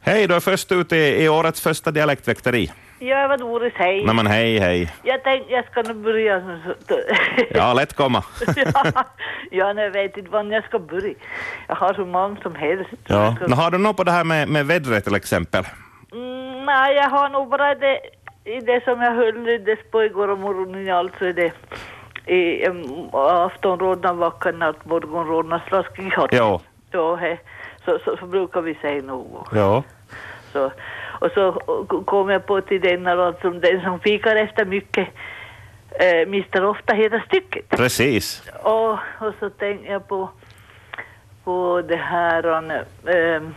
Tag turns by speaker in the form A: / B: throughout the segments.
A: Hej, du är först ut i, i årets första dialektväkteri.
B: Ja, vad roligt, hej.
A: Nej men hej, hej.
B: Jag tänkte jag ska nu börja. nu så-
A: Ja, lätt komma.
B: ja, ja, nej, jag vet inte var jag ska börja. Jag har hur många som helst.
A: Ja.
B: Jag ska-
A: Nå, har du något på det här med, med vädret till exempel?
B: Mm, nej, jag har nog bara det, i det som jag höll ryddes på igår och morgonen, alltså i det i um, aftonrodnad vacker natt, morgonrodnad slaskig hatt.
A: Jo.
B: Så, he, så, så, så brukar vi säga nog.
A: Ja.
B: Så, och så och kom jag på till den här att som den som fikar efter mycket eh, mister ofta hela stycket.
A: Precis.
B: Och, och så tänkte jag på, på det här om, ehm,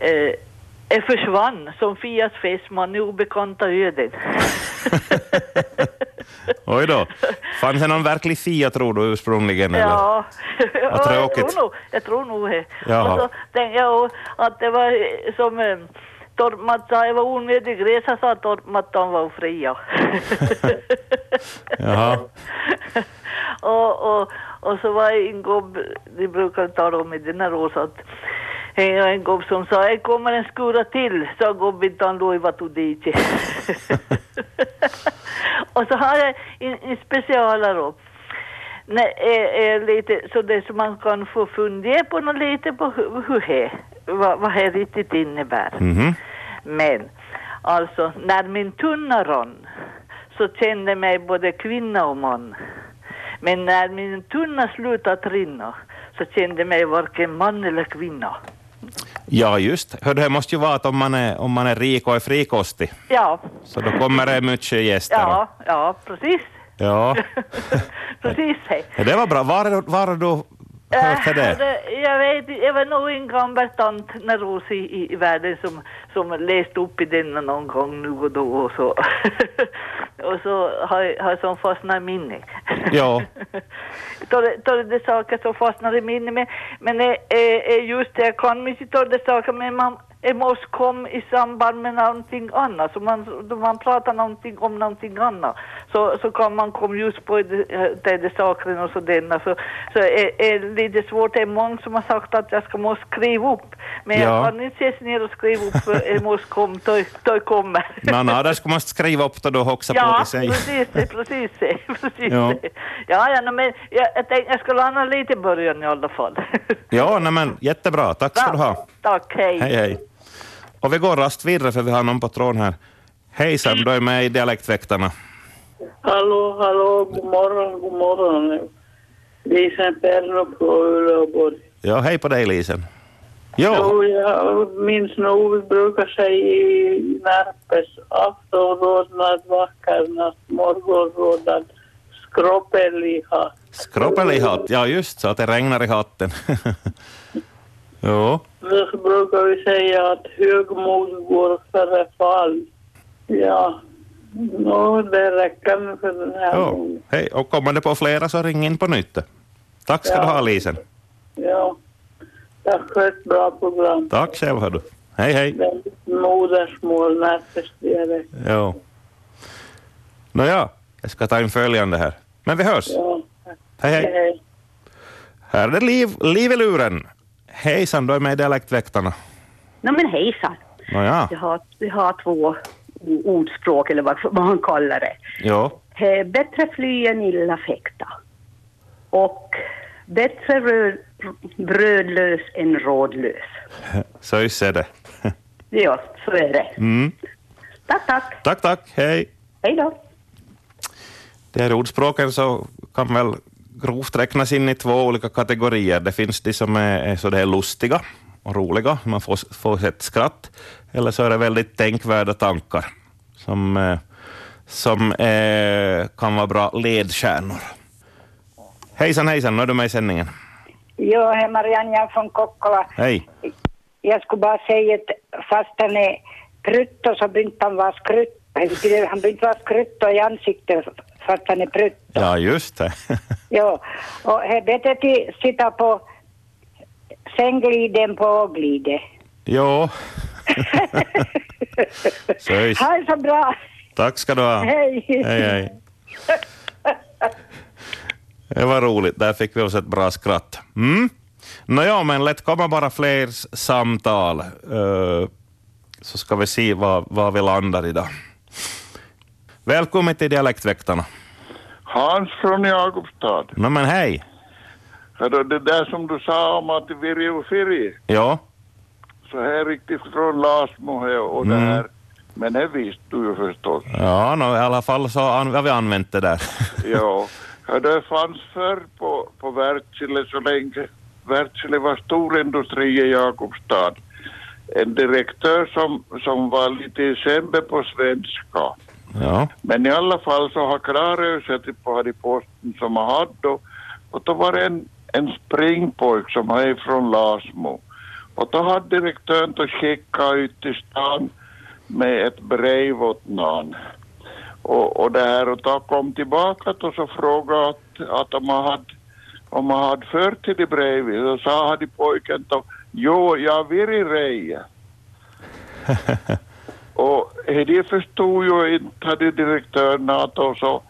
B: eh, eh, försvann som Fias fästman i obekanta öden.
A: Oj då. Fanns det någon verklig Fia tror du ursprungligen? Eller?
B: ja,
A: Vad
B: Ja, jag
A: tråkigt.
B: tror nog, jag tror nog det.
A: Jaha.
B: Och så tänkte jag att det var eh, som eh, Torpmat sa, det var onödig resa sa Torpmat, de var fria.
A: Jaha.
B: och, och, och så var det en gubb, de brukar tala om i den här ås att hej, och en gubb som sa, här kommer en skura till, sa gubben han loiva tu dit. och så har jag en, en specialare då. Nej, är, är lite, så det som man kan få fundera på något lite på hur, hur det är, vad, vad det riktigt innebär.
A: Mhm.
B: Men alltså, när min tunna rann så kände mig både kvinna och man. Men när min tunna slutade rinna så kände mig varken man eller kvinna.
A: Ja, just. Hör, det här måste ju vara att om man, är, om man är rik och är frikostig,
B: Ja,
A: så då kommer det mycket gäster.
B: ja, ja, precis.
A: ja.
B: precis. hej.
A: Ja, Det var bra. Var, har du- var har du hörde
B: Äh,
A: det?
B: det- Jag vet inte, det var nog en gammal tant när Ros i, i, i världen som, som läste upp i den någon gång nu och då och så. och så har, har som fastnat i minnet.
A: Ja.
B: Tar- tar det saker som fastnar i minnet men, men eh, eh, eh, just det, jag kan inte ta det saker men man det måste komma i samband med någonting annat. Så man, då man pratar någonting om någonting annat så, så kan man komma just på det, eh, det, det saken och så denna. Så, så är, är lite svårt. Det är många som har sagt att jag ska måste skriva upp. Men
A: Ja.
B: jag kan inte se sig ner och skriva upp för jag måste komma, då, då kommer.
A: Nå, nå, där ska man skriva upp det då och också på
B: Ja,
A: det sig.
B: precis det, precis det. Precis
A: Ja.
B: det. ja, ja, no, men jag, jag tänkte jag skulle ana lite i början i alla fall.
A: Ja, nej, men jättebra. Tack ska du ha.
B: Tack, hej.
A: Hej, hej. Och vi går rast vidare för vi har någon på tråden här. Hejsan, du är med i Dialektväktarna.
C: Hallå, hallå, god morgon, god morgon. Lisen Pernok på Uleåborg.
A: Ja, hej på dig Lisen. Jo,
C: Jo, jag minns nog vi brukar säga i Närpes aftonrodnad, vacker natt, morgonrodnad, skroppeliha.
A: skroppel i hatt. Ja, just så att det regnar i hatten. jo,
C: Så brukar vi säga att högmod går före fall. Ja, nå, det räcker nu för den här
A: jo.
C: gången.
A: Hej, och kommer det på flera så ring in på nytt. Tack ska du ha Lisen.
C: Ja, tack för ett bra program.
A: Tack själv hör du. Hej, hej.
C: Väldigt modersmål, Närpes dialekt.
A: Jo. Nåja, jag ska ta in följande här. Men vi hörs.
C: Ja,
A: Hej, hej.
C: hej.
A: Här är det liv, liv i luren. Hejsan, du är med i Dialektväktarna.
D: Nej men hejsan.
A: Nåja,
D: Vi har, vi har två o- ordspråk eller vad, vad han kallar det.
A: jo.
D: Eh, Bättre fly än illa fäkta. Och bättre röd, brödlös än rådlös.
A: Så just är det.
D: Ja, så är det.
A: Mm.
D: Tack, tack.
A: Tack, tack. Hej.
D: Hej då.
A: De här ordspråken så kan väl grovt räknas in i två olika kategorier. Det finns de som är, är så där lustiga och roliga, man får, får ett skratt, eller så är det väldigt tänkvärda tankar som, eh, som eh, kan vara bra ledstjärnor. Hejsan, hejsan, nu är du med i sändningen.
E: Jo, hej Marianne jag är från Kokkola.
A: Hej.
E: Jag skulle bara säga att fast han är prutto så började han vara skrutt. Han började vara skrutto i ansiktet fast han är prutt.
A: Ja, just det.
E: Jo, och det är bättre att sitta på sänggliden på åglide.
A: jo. Söjs.
E: Ha det så bra.
A: Tack ska du ha.
E: Hej.
A: Hej, hej. Det var roligt. Där fick vi oss ett bra skratt. Mm. Nåja, men lätt komma bara fler s- samtal, eh, så ska vi se vad, vad vi landar idag. Välkommen till Dialektväktarna.
F: Hans från Jakobstad.
A: No, men hej.
F: Hörru, det där som du sa om att Virje och Firi,
A: Ja,
F: så här är riktigt från Larsmo här och det här. Men det visste du ju förstås.
A: ja no, i alla fall så an, har vi använt det där.
F: ja. Hörru, det fanns förr på, på Wärtsilä så länge Wärtsilä var storindustri i Jakobstad. En direktör som, som var lite sämre på svenska.
A: ja.
F: Men i alla fall så har Klarö suttit på här i posten som har haft då. Och då var det en, en springpojk som är från Lasmo. Och då hade direktören att skicka ut till stan med ett brev åt någon. Och, och det här och då kom tillbaka och så frågade att, att om man hade om man hade fört till det brevet så sa hade pojken då jo, jag vill i reja. Och eh, det förstod ju inte hade direktören att och så,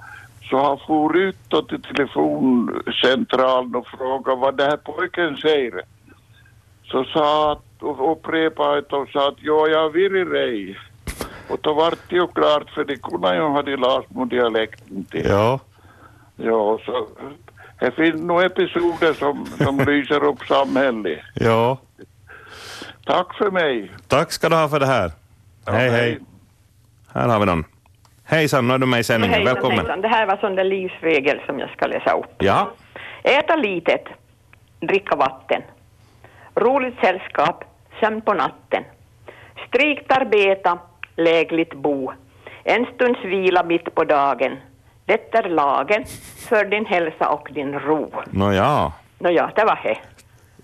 F: så han for ut då till telefoncentralen och frågade vad det här pojken säger. Så sa han och upprepade att och sa att ja, jag vill i dig. Och då vart det ju klart för det kunde ju ha de Larsmo-dialekten till.
A: ja.
F: Ja, så det finns nog episoder som, som lyser upp samhället.
A: Ja.
F: Tack för mig.
A: Tack ska du ha för det här. hej, hej. Här har vi någon. Hejsan, nu är du med i sändningen.
G: Hejsan,
A: Välkommen.
G: hejsan. Det här var sån där livsregel som jag ska läsa upp.
A: Ja.
G: Äta litet, dricka vatten, roligt sällskap, sömn på natten, strikt arbeta, lägligt bo, en stunds vila mitt på dagen. Det är lagen för din hälsa och din ro.
A: Nåja.
G: Nåja, det var det.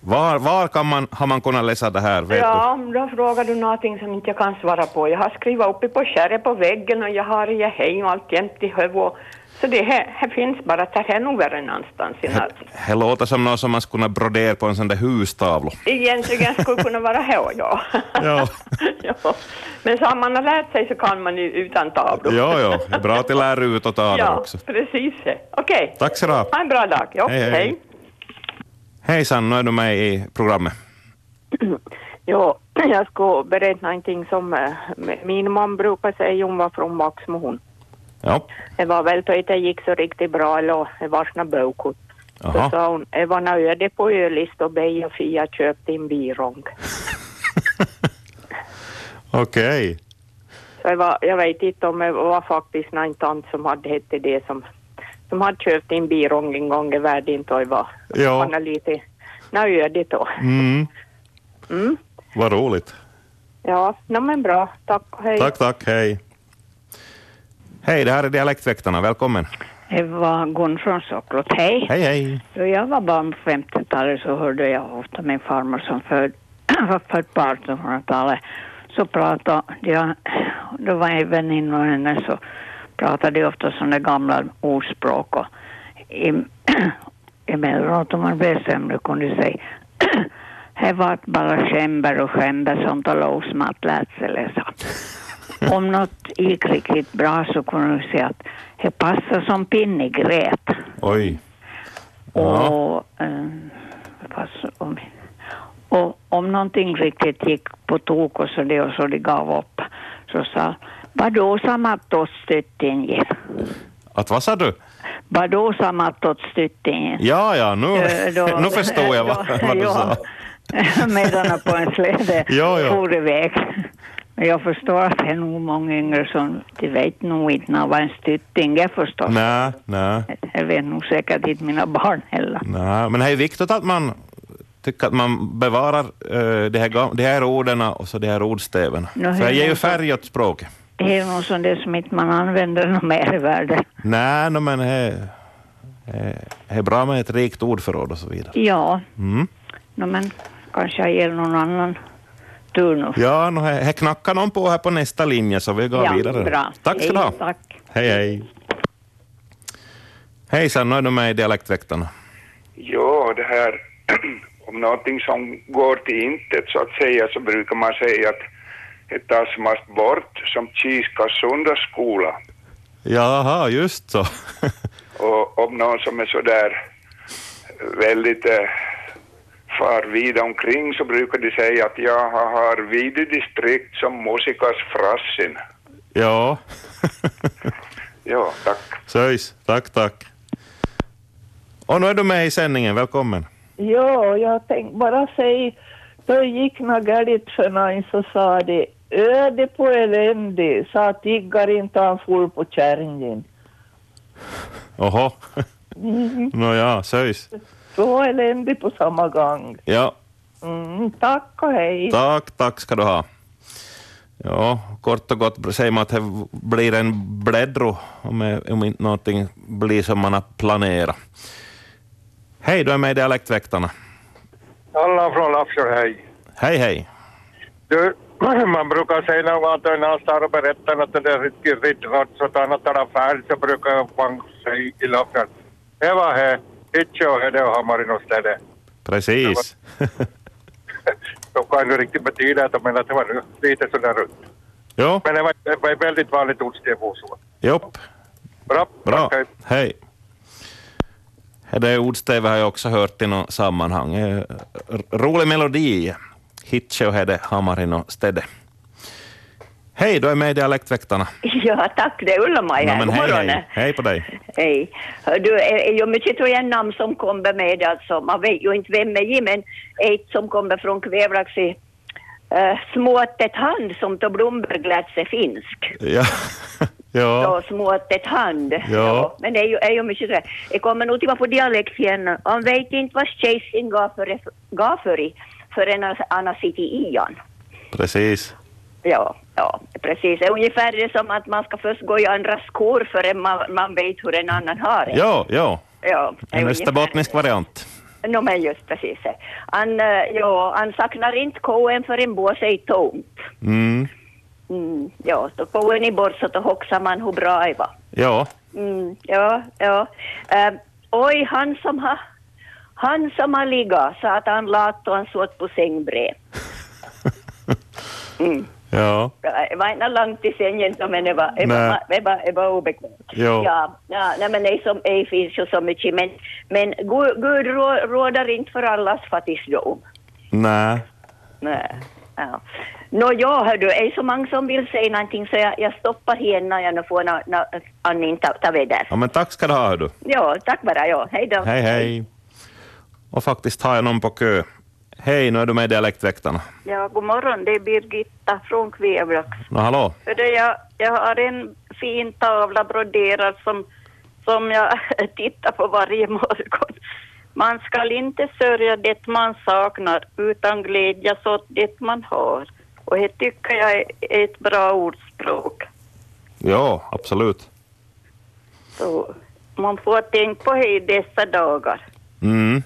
A: Var, var kan man, har man kunnat läsa det här? Vet
G: ja, då frågar du någonting som inte jag kan svara på. Jag har skrivit upp på kärret på väggen och jag har i hem alltjämt i huvudet. Så det här, här finns bara, det här är nog värre än någonstans. i
A: du?
G: natt.
A: Det låter som något som man skulle kunna brodera på en sån där hustavla.
G: Egentligen skulle kunna vara här och jag.
A: Ja.
G: ja. Men så har man har lärt sig så kan man ju utan tavlor.
A: Jo, jo. Det är Bra att det lär ut och ta det
G: ja,
A: också.
G: precis. Okej,
A: Tack ska du ha.
G: ha en bra dag. Jo,
A: Hej, hej. Hejsan, nu är du med i programmet.
H: Jo, jag skulle berätta någonting som eh, min mamma brukar säga, hon var från Maxmo hon.
A: Ja.
H: Det var väl då inte gick så riktigt bra, eller det var såna bökot. Så
A: Jaha.
H: sa hon, det var när öde på ölist och Bej och Fia köpte en birong.
A: Okej.
H: Så det var, jag vet inte om det var faktiskt någon tant som hade hette det som, som hade köpt en birong en gång i världen då det var.
A: Ja.
H: Han är lite, när öde då.
A: Mm.
H: Mm.
A: Vad roligt.
H: Ja, no, men bra. Tack och hej.
A: Tack, tack. Hej. Hej, det här är Dialektväktarna. Välkommen.
I: Det var Gun från Sockrot. Hej.
A: Hej, hej.
I: Då jag var barn på 50-talet så hörde jag ofta min farmor som född, var född på 1800-talet. Så pratade de, då var jag väninna och henne så pratade de ofta sådana gamla ordspråk och i- emellanåt om man blev sämre kunde de säga det var bara skämber och skämber som talade osmatt lät sig läsa. Om något gick riktigt bra så kunde du säga att det passar som pinne i grät.
A: Oj.
I: Och, eh, fast om, och om någonting riktigt gick på tok och så det och så de gav upp så sa Vadå samattot styttinje?
A: Att vad sa du?
I: Vadå samattot styttinje?
A: Ja, ja, nu,
I: Eh, då-
A: nu förstår jag vad,
I: då-
A: vad du
I: ja.
A: sa.
I: Medan på en släde
A: Ja, ja.
I: for iväg. Men jag förstår att det är nog många yngre som de vet nog inte när vad en stytting är förstås.
A: Nej, nej,
I: Jag vet nog säkert inte mina barn heller.
A: nej. Men det är viktigt att man tycker att man bevarar eh, de, här, gam- de här orden och så de här ordstäven.
I: Nå,
A: För det
I: hur
A: ger ju
I: många-
A: färg åt språket.
I: Det är nog som det som inte man använder något mer i världen.
A: Nej, no, men det det är bra med ett rikt ordförråd och så vidare.
I: Ja,
A: Mm.
I: nå men kanske jag ger någon annan tur nu.
A: Ja, no, här här knackar någon på här på nästa linje, så vi går
I: ja,
A: vidare.
I: Bra.
A: Tack ska du ha.
I: Hej, Tack.
A: Hej, hej. Hejsan, nu är du med i Dialektväktarna.
J: Ja, det här om någonting som går till intet så att säga så brukar man säga att det tas mast bort som Kiskas söndagsskola.
A: Jaha, just så.
J: Och om någon som är sådär väldigt eh, far vida omkring så brukar de säga att jag har vidit distrikt som musikas frassin.
A: Ja,
J: Ja, tack.
A: söjs. Tack, tack. Och nu är du med i sändningen. Välkommen.
K: Ja, jag tänkte bara säga, då gick något galet för någon så sa de öde på elände, sa att tiggar inte han for på kärringen.
A: Oho.
K: Mm.
A: Nåja, söjs.
K: Två elände på samma gång.
A: Ja,
K: Mm, tack och hej.
A: Tack, tack ska du ha. Ja, kort och gott säger man att det blir en bläddro om, om inte någonting blir som man har planerat. Hej, du är med i Dialektväktarna.
L: Allan från Lappsjö, hej.
A: Hej, hej.
L: Du, man brukar säga när man tar en anstad och berättar att det är riktigt ritrott så tar något annat färd så brukar man säga i Lappsjö. Det var här, inte och det har man i något ställe.
A: Precis.
L: Då kan det riktigt betyda att de menar att det var lite sådär rutt.
A: Jo,
L: Men det var, det var ett väldigt vanligt ordstäv och så.
A: jopp,
L: Bra.
A: bra. Hej. Det ordstävet har jag också hört i något sammanhang. Eh, r- Rolig melodi. Hitche och Hede Hamarin och Stede. Hej, du är med i Dialektväktarna.
M: Ja, tack. Det är Ulla-Maj
A: Nå,
M: här.
A: men
M: God
A: hej,
M: morgon.
A: hej. hej på dig.
M: Hej. Hör Du, eh, jo, men sitter en namn som kommer med, alltså, man vet ju inte vem det är, men ett som kommer från Kvävlax i eh, småttet hand som då Blomberg lät sig finsk.
A: Ja.
M: Så
A: ja.
M: småttet hand.
A: ja.
M: Men det är ju, är ju mycket sådär. Jag kommer nog tillbaka på dialekt igen. Han vet inte vad chasing gav för, gav för i förrän han sitter i han.
A: Precis.
M: Ja, ja, precis. Det är ungefär det som att man ska först gå i andra skor förrän man, man vet hur en annan har det.
A: Ja, ja.
M: Ja, det är
A: En
M: ungefär-
A: österbottnisk variant.
M: No, men just precis. Han, eh, ja, han saknar inte koen förrän båset är tomt.
A: Mm.
M: Mm, ja, då koen är bort så då hoxar man hur bra det var.
A: Ja,
M: Mm, ja, ja. Eh, oj, han som har han som har ligga sa att han lat och han såg på sängbrev. Mm.
A: ja,
M: Det var inte långt i sängen, så men det var, det
A: Nej.
M: var, det var, det var obekvämt.
A: Jo.
M: Ja, ja nej, men det, som, det finns ju så mycket, men, men Gud, Gud rå- råder inte för allas fattigdom.
A: nej,
M: Nej. Ja. Nå, ja, hör du, det är så många som vill säga någonting, så jag, jag stoppar henne när jag nu får na, na, Annin ta, ta vid där.
A: ja, men tack ska du ha, hör du.
M: Ja, tack bara, ja. Hej då.
A: Hej, hej. Och faktiskt har jag någon på kö. Hej, nu är du med i Dialektväktarna.
N: Ja, god morgon. Det är Birgitta från Kvävlax.
A: Nå, hallå?
N: För det, Jag, jag har en fin tavla broderad som, som jag tittar på varje morgon. Man skall inte sörja det man saknar utan glädjas åt det man har. Och det tycker jag är ett bra ordspråk.
A: Ja, absolut.
N: Så man får tänka på det i dessa dagar.
A: Mm.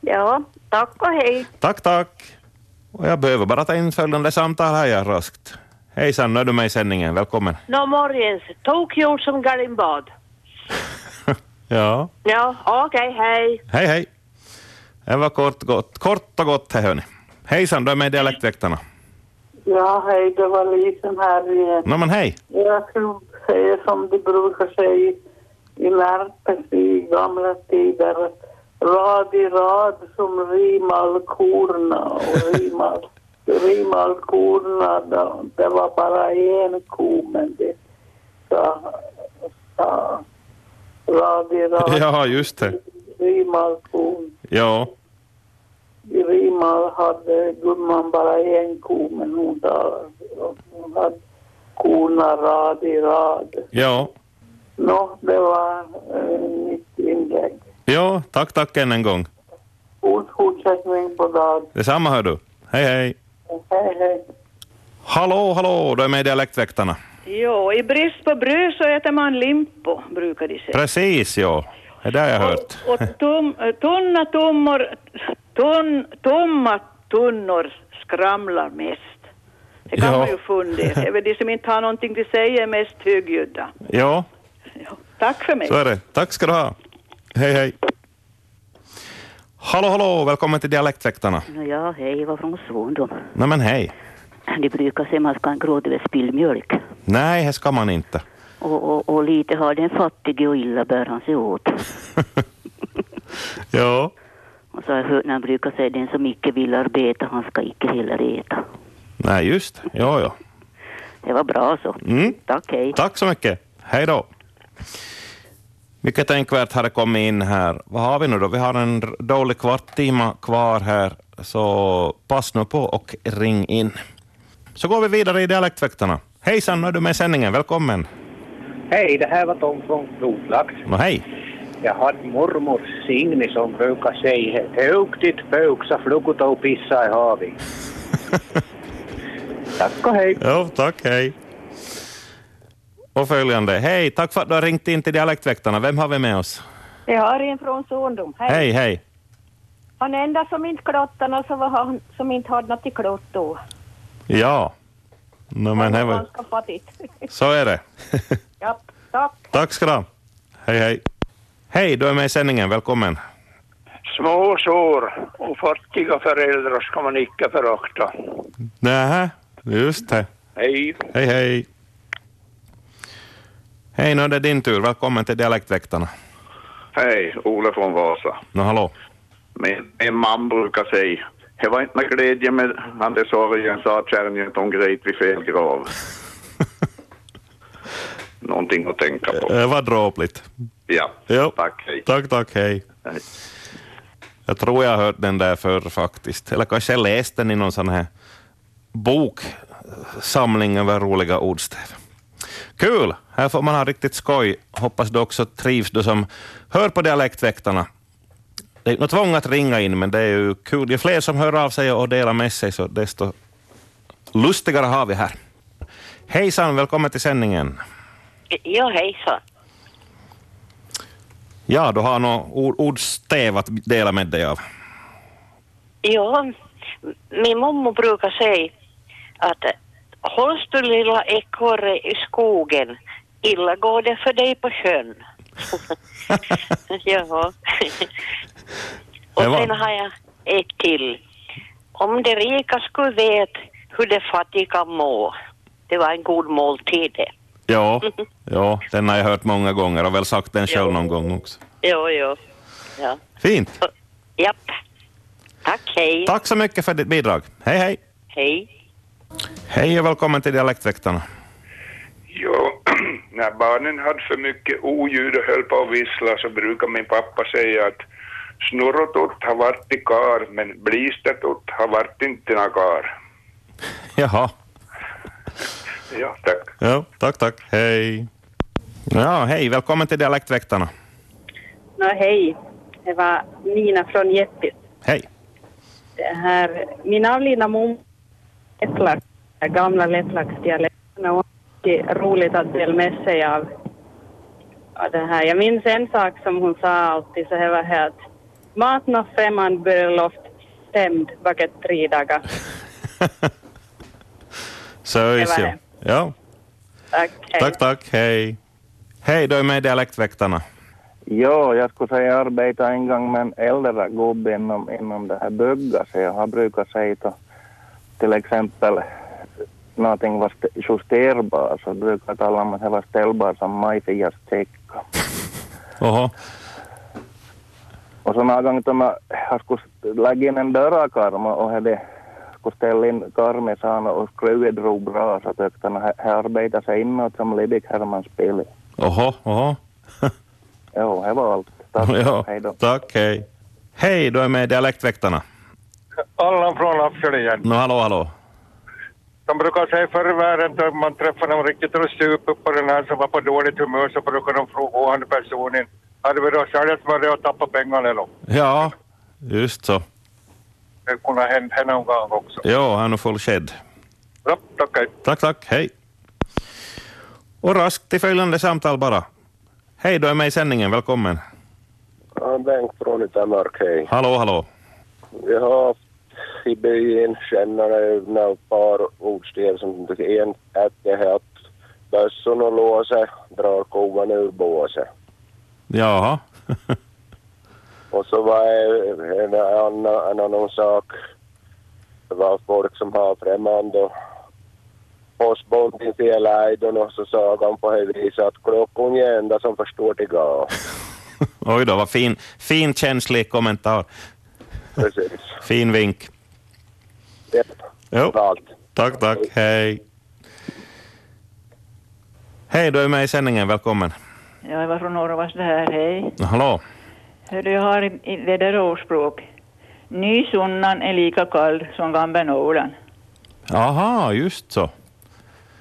N: Ja, tack och hej.
A: Tack, tack. Och jag behöver bara ta in följande samtal här ja, raskt. Hejsan, nu är du med i sändningen. Välkommen.
O: Nå morgens, tokgjord som gallinbad.
A: Ja.
O: Ja, okej, hej.
A: Hej, hej. Det var kort, gott. kort och gott, hörni. Hejsan, du är med i Dialektväktarna.
C: Ja, hej, det var Lisen här igen.
A: Nå, men hej.
C: Jag skulle säga som de brukar säga i Närpes i gamla tider. Rad i rad som rimal korna och rimal, rimal korna, de- det var bara en ko men det sa, sa rad i rad
A: Ja, just det.
C: rimal kon.
A: Ja,
C: I Rimal hade gumman bara en ko men hon, tar- hon hade korna rad i rad.
A: ja.
C: Nå, det var eh, mitt inlägg.
A: Ja, tack, tack än en gång.
C: God fortsättning på dagen.
A: Detsamma hör du. Hej, hej.
C: Hej, hej.
A: Hallå, hallå, du är med i Dialektväktarna.
P: Ja, i brist på bröd så äter man limpo, brukar de säga.
A: Precis, ja. Det där har jag hört.
P: Och tom, eh, tunna tummor, ton, tomma tunnor skramlar mest. Det kan
A: Ja.
P: man ju fundera över. De som inte har någonting att säga är mest högljudda.
A: Ja,
P: Tack för mig.
A: så är det. Tack ska du ha. Hej, hej. Hallå, hallå, välkommen till Dialektväktarna.
Q: Nå Ja, hej, jag var från Svondom.
A: Nej, men hej.
Q: De brukar säga man ska inte gråta över spilld mjölk.
A: Nej, här ska man inte.
Q: Och, och, och lite har den fattige och illa bär han sig åt.
A: Ja,
Q: Och så har jag hört när han brukar säga den som icke vill arbeta, han ska icke heller äta.
A: Nej, just Ja, ja.
Q: Det var bra så.
A: Mm.
Q: Tack, hej.
A: Tack så mycket. Hej då. Mycket tänkvärt har det kommit in här. Vad har vi nu då? Vi har en r- dålig kvarttimme kvar här, så pass nu på och ring in. Så går vi vidare i dialektväktarna. Hejsan, nu är du med i sändningen. Välkommen.
R: Hej, det här var Tom från Flodlax.
A: Nå, hej.
R: Jag hade mormor Signe som brukar säga högtigt fuksa flugut och pissa i havet.
A: Tack och hej. Jo, tack, hej. Och följande. Hej, tack för att du har ringt in till Dialektväktarna. Vem har vi med oss?
S: Jag har en från Sondom. Hej.
A: Hej, hej.
S: Han är enda som inte klottarna så var han som inte hade något i klott då.
A: Ja. Nå, men det var...
S: Ganska fattigt.
A: Så är det.
S: ja, tack.
A: Tack ska du ha. Hej, hej. Hej, du är med i sändningen. Välkommen.
T: Små sår och fattiga föräldrar ska man icke förakta.
A: Nähä, just det.
T: Hej.
A: Hej, hej. Hej, nu är det din tur. Välkommen till Dialektväktarna.
U: Hej, Ole från Vasa.
A: Nå, hallå.
U: Min, min man brukar säga, det var inte med glädje med han det sorgen sa att kärringen de grät vid fel grav. Någonting att tänka på.
A: Det var dråpligt.
U: Ja,
A: Jo.
U: tack. Hej.
A: Tack, tack, hej.
U: Hej.
A: Jag tror jag har hört den där förr faktiskt. Eller kanske jag läste den i någon sån här boksamling över roliga ordstäv. Kul! Här får man ha riktigt skoj. Hoppas du också trivs, du som hör på Dialektväktarna. Det är ju något tvång att ringa in, men det är ju kul. Ju fler som hör av sig och delar med sig, så desto lustigare har vi här. Hejsan, välkommen till sändningen.
V: Ja, hejsan.
A: Ja, du har något ord, ordstäv att dela med dig av.
V: Ja, min mamma brukar säga att hålls du lilla ekorre i skogen, illa går det för dig på sjön. ja. Och
W: Det var-
V: sen har jag ett till. Om de rika skulle veta hur de fattiga mår. Det var en god måltid det.
A: Ja, ja, den har jag hört många gånger och väl sagt den själv någon gång också.
V: Jo, jo. Ja.
A: Fint.
V: Japp. Tack, hej.
A: Tack så mycket för ditt bidrag. Hej, hej.
V: Hej.
A: Hej och välkommen till Dialektväktarna.
J: Jo, när barnen hade för mycket oljud och höll på att vissla så brukade min pappa säga att snurrotott har varit i kar men blistertott har varit inte någon kar.
A: Jaha.
J: Ja, tack.
A: Ja, tack, tack. Hej. Ja, hej. Välkommen till Dialektväktarna.
X: Nå, hej. Det var Nina från Jeppis.
A: Hej.
X: Det här, min avlidna mor Lettlax, gamla Lettlaxdialekten och det är roligt att dela med sig av av det här. Jag minns en sak som hon sa alltid, så det var här att mat nå främmande bör loft stämd vacket tre dagar.
A: Så är
X: Det var
A: det. Ja,
X: Tack, hej.
A: tack, tack. Hej. Hej, du är med i Dialektväktarna.
Y: Ja, jag skulle säga jag arbetade en gång med en äldre gubbe inom, inom det här bögga, så jag har brukat säga då, till exempel någonting var st- justerbar, så brukar jag tala om att det var ställbar som majfias täcka.
A: Oho.
Y: Och så någon gång då man- jag skulle lägga in en dörrakarm och hade skulle ställa in karmen så han och skruven drog bra så tyckte han att här arbetar sig inåt som Lidik Hermans bil.
A: Oho, oho.
Y: Jo, det var allt. Tack,
A: Ja,
Y: hej då.
A: tack, hej. Hej, du är med i Dialektväktarna.
L: Allan från Lappkärr igen.
A: Nå, hallå, hallå.
L: De brukar säga förr i världen när man träffar någon riktigt rusup på den här som var på dåligt humör så brukar de fråga han personen hade vi då säljat med det och tappat pengarna eller?
A: Ja, just så.
L: Det kunde ha hänt henne någon gång också.
A: Ja, han är full shed.
L: Bra, tack hej.
A: Tack, tack. Hej. Och raskt till följande samtal bara. Hej, du är med i sändningen. Välkommen.
Z: Ja, Bengt från Yttermark, hej.
A: Hallå, hallå.
Z: Vi har i byn känner några par ordstäv som en att det här att bössorna och låset drar kovan ur båset.
A: Jaha.
Z: Och så var det en annan, en annan sak. Det var folk som har främmande och postbond i fel ägden och så sa han på det viset att klockan är enda som förstår det går.
A: Oj då, vad fin, fin känslig kommentar.
Z: precis.
A: Fin vink. Jo. Tack, tack. Hej. Hej, du är med i sändningen. Välkommen.
H: Ja, jag var från Norvas det här, hej.
A: Hallå.
H: Hördu, jag har i- i det där ordspråk. Ny sunnan är lika kall som gamla nålen.
A: Aha, just så.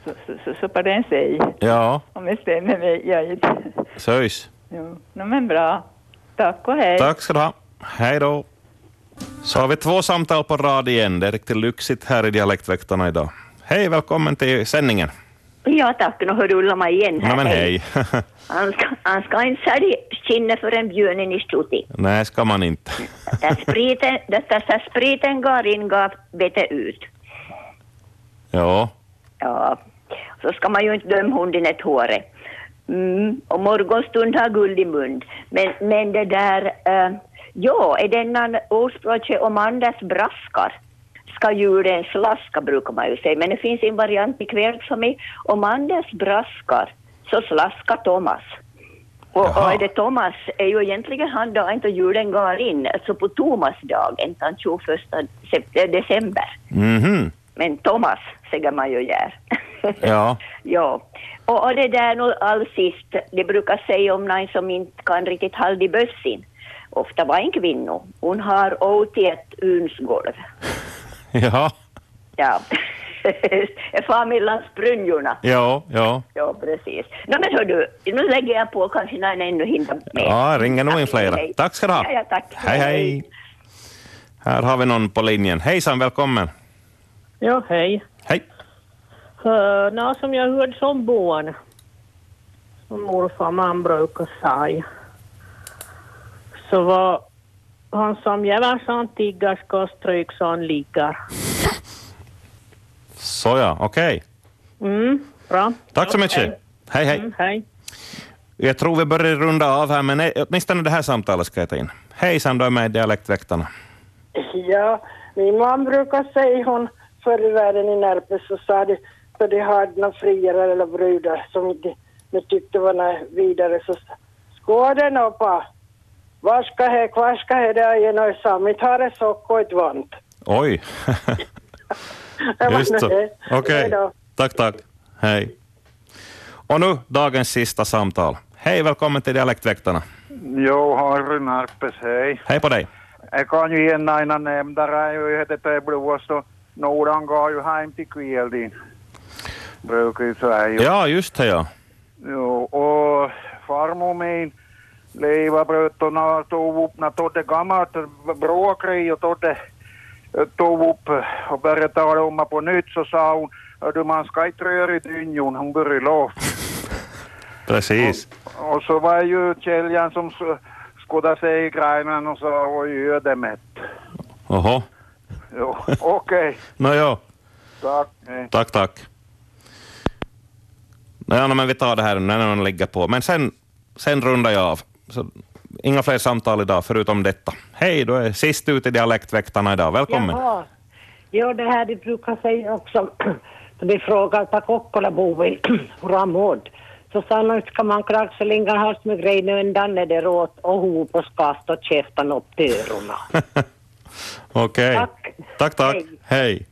H: Så, så, så, så på den säg.
A: Ja,
H: Om det stämmer med jag inte.
A: söjs.
H: Jo, nå men bra. Tack och hej.
A: Tack ska du ha. Hej då. Så har vi två samtal på rad igen. Det är riktigt lyxigt här i Dialektväktarna idag. Hej, välkommen till sändningen.
M: Ja tack, nu hör Ulla mig igen här.
A: Nej, men hej.
M: Han, ska, han ska inte sälja skinnet förrän björnen är stutig.
A: Nej, ska man inte.
M: Där spriten, där, där spriten går in gav bete ut.
A: Ja,
M: Ja, så ska man ju inte döma hunden ett håre. Mm, och morgonstund har guld i mun. Men, men det där, eh, ja, är denna ordspråket om Anders braskar ska djuren slaska brukar man ju säga. Men det finns en variant ikväll som är om Anders braskar så slaskar Thomas. Och, och är det Thomas är ju egentligen han dagen inte julen går in, alltså på Thomasdagen, den 21 sep- december.
A: mhm,
M: Men Thomas säger man ju gör.
A: ja.
M: Ja, och, och det där nog all sist, det brukar säga om någon som inte kan riktigt hålla i bössin. Ofta var en kvinna. Hon har åtit unsgolv.
A: Ja,
M: Ja. Far mellan sprunjorna.
A: ja, ja.
M: Ja, precis. Nå, men hördu, nu lägger jag på kanske någon ännu hinner med.
A: Ja, ringer nog in flera. Tack ska du ha.
M: Ja, ja, tack.
A: Hej, hej. Här har vi någon på linjen. Hejsan, välkommen.
C: Ja, hej.
A: Hej.
C: Höna som jag hörde som barn, som morfar man brukar säga, så var han som jävlar som tiggar ska stryk så han ligger.
A: Såja, okej.
C: Mm, bra.
A: Tack så mycket. Hej, hej.
C: Mm, hej.
A: Jag tror vi börjar runda av här, men eh, åtminstone det här samtalet ska jag ta in. Hejsan, du är med i Dialektväktarna.
E: Ja, min mam brukar säga hon förr i världen i Närpes så sa de för de hade några friare eller brudar som inte de tyckte var några vidare så sa- skåden oppa. Varska he, kvarska he, det är ju något samt. Har det sock och ett vant.
A: Oj.
E: Det var
A: Just så.
E: det.
A: Okej.
E: Hej då.
A: Tack, tack. Hej. Och nu dagens sista samtal. Hej, välkommen till Dialektväktarna.
U: Jo, Harry Närpes, hej.
A: Hej på dig.
U: Jag kan ju en aina nämnda det ju hette det blåst och Nordan går ju hem till kvällin. Brukar ju säga.
A: Ja, just det ja.
U: Jo, och farmor min levabrötterna tog upp när Todde gammalt bråkrig och Todde eh, tog upp och började tala om det på nytt så sa hon "Hör du man ska inte röra i dynjon, hon började lov.
A: Precis.
U: Och så var ju Käljan som s- skådade sig i greinen och sa oj ödemätt.
A: Oho.
U: Jo, okej.
A: Nå ja.
U: Tack. Hej.
A: Tack, tack. Ja, men vi tar det här när någon lägger på. Men sen, sen rundar jag av. Så, inga fler samtal idag, förutom detta. Hej, du är sist ut i Dialektväktarna idag. Välkommen.
G: Jaha. Ja, det här de brukar säga också. De frågar på Kokkolaboven hur han mådde. Så sa han ska man kraxa lingan hals med grejen undan är det råt och hop och skast och käften upp till öronen.
A: Okej. Tack, tack. Hej.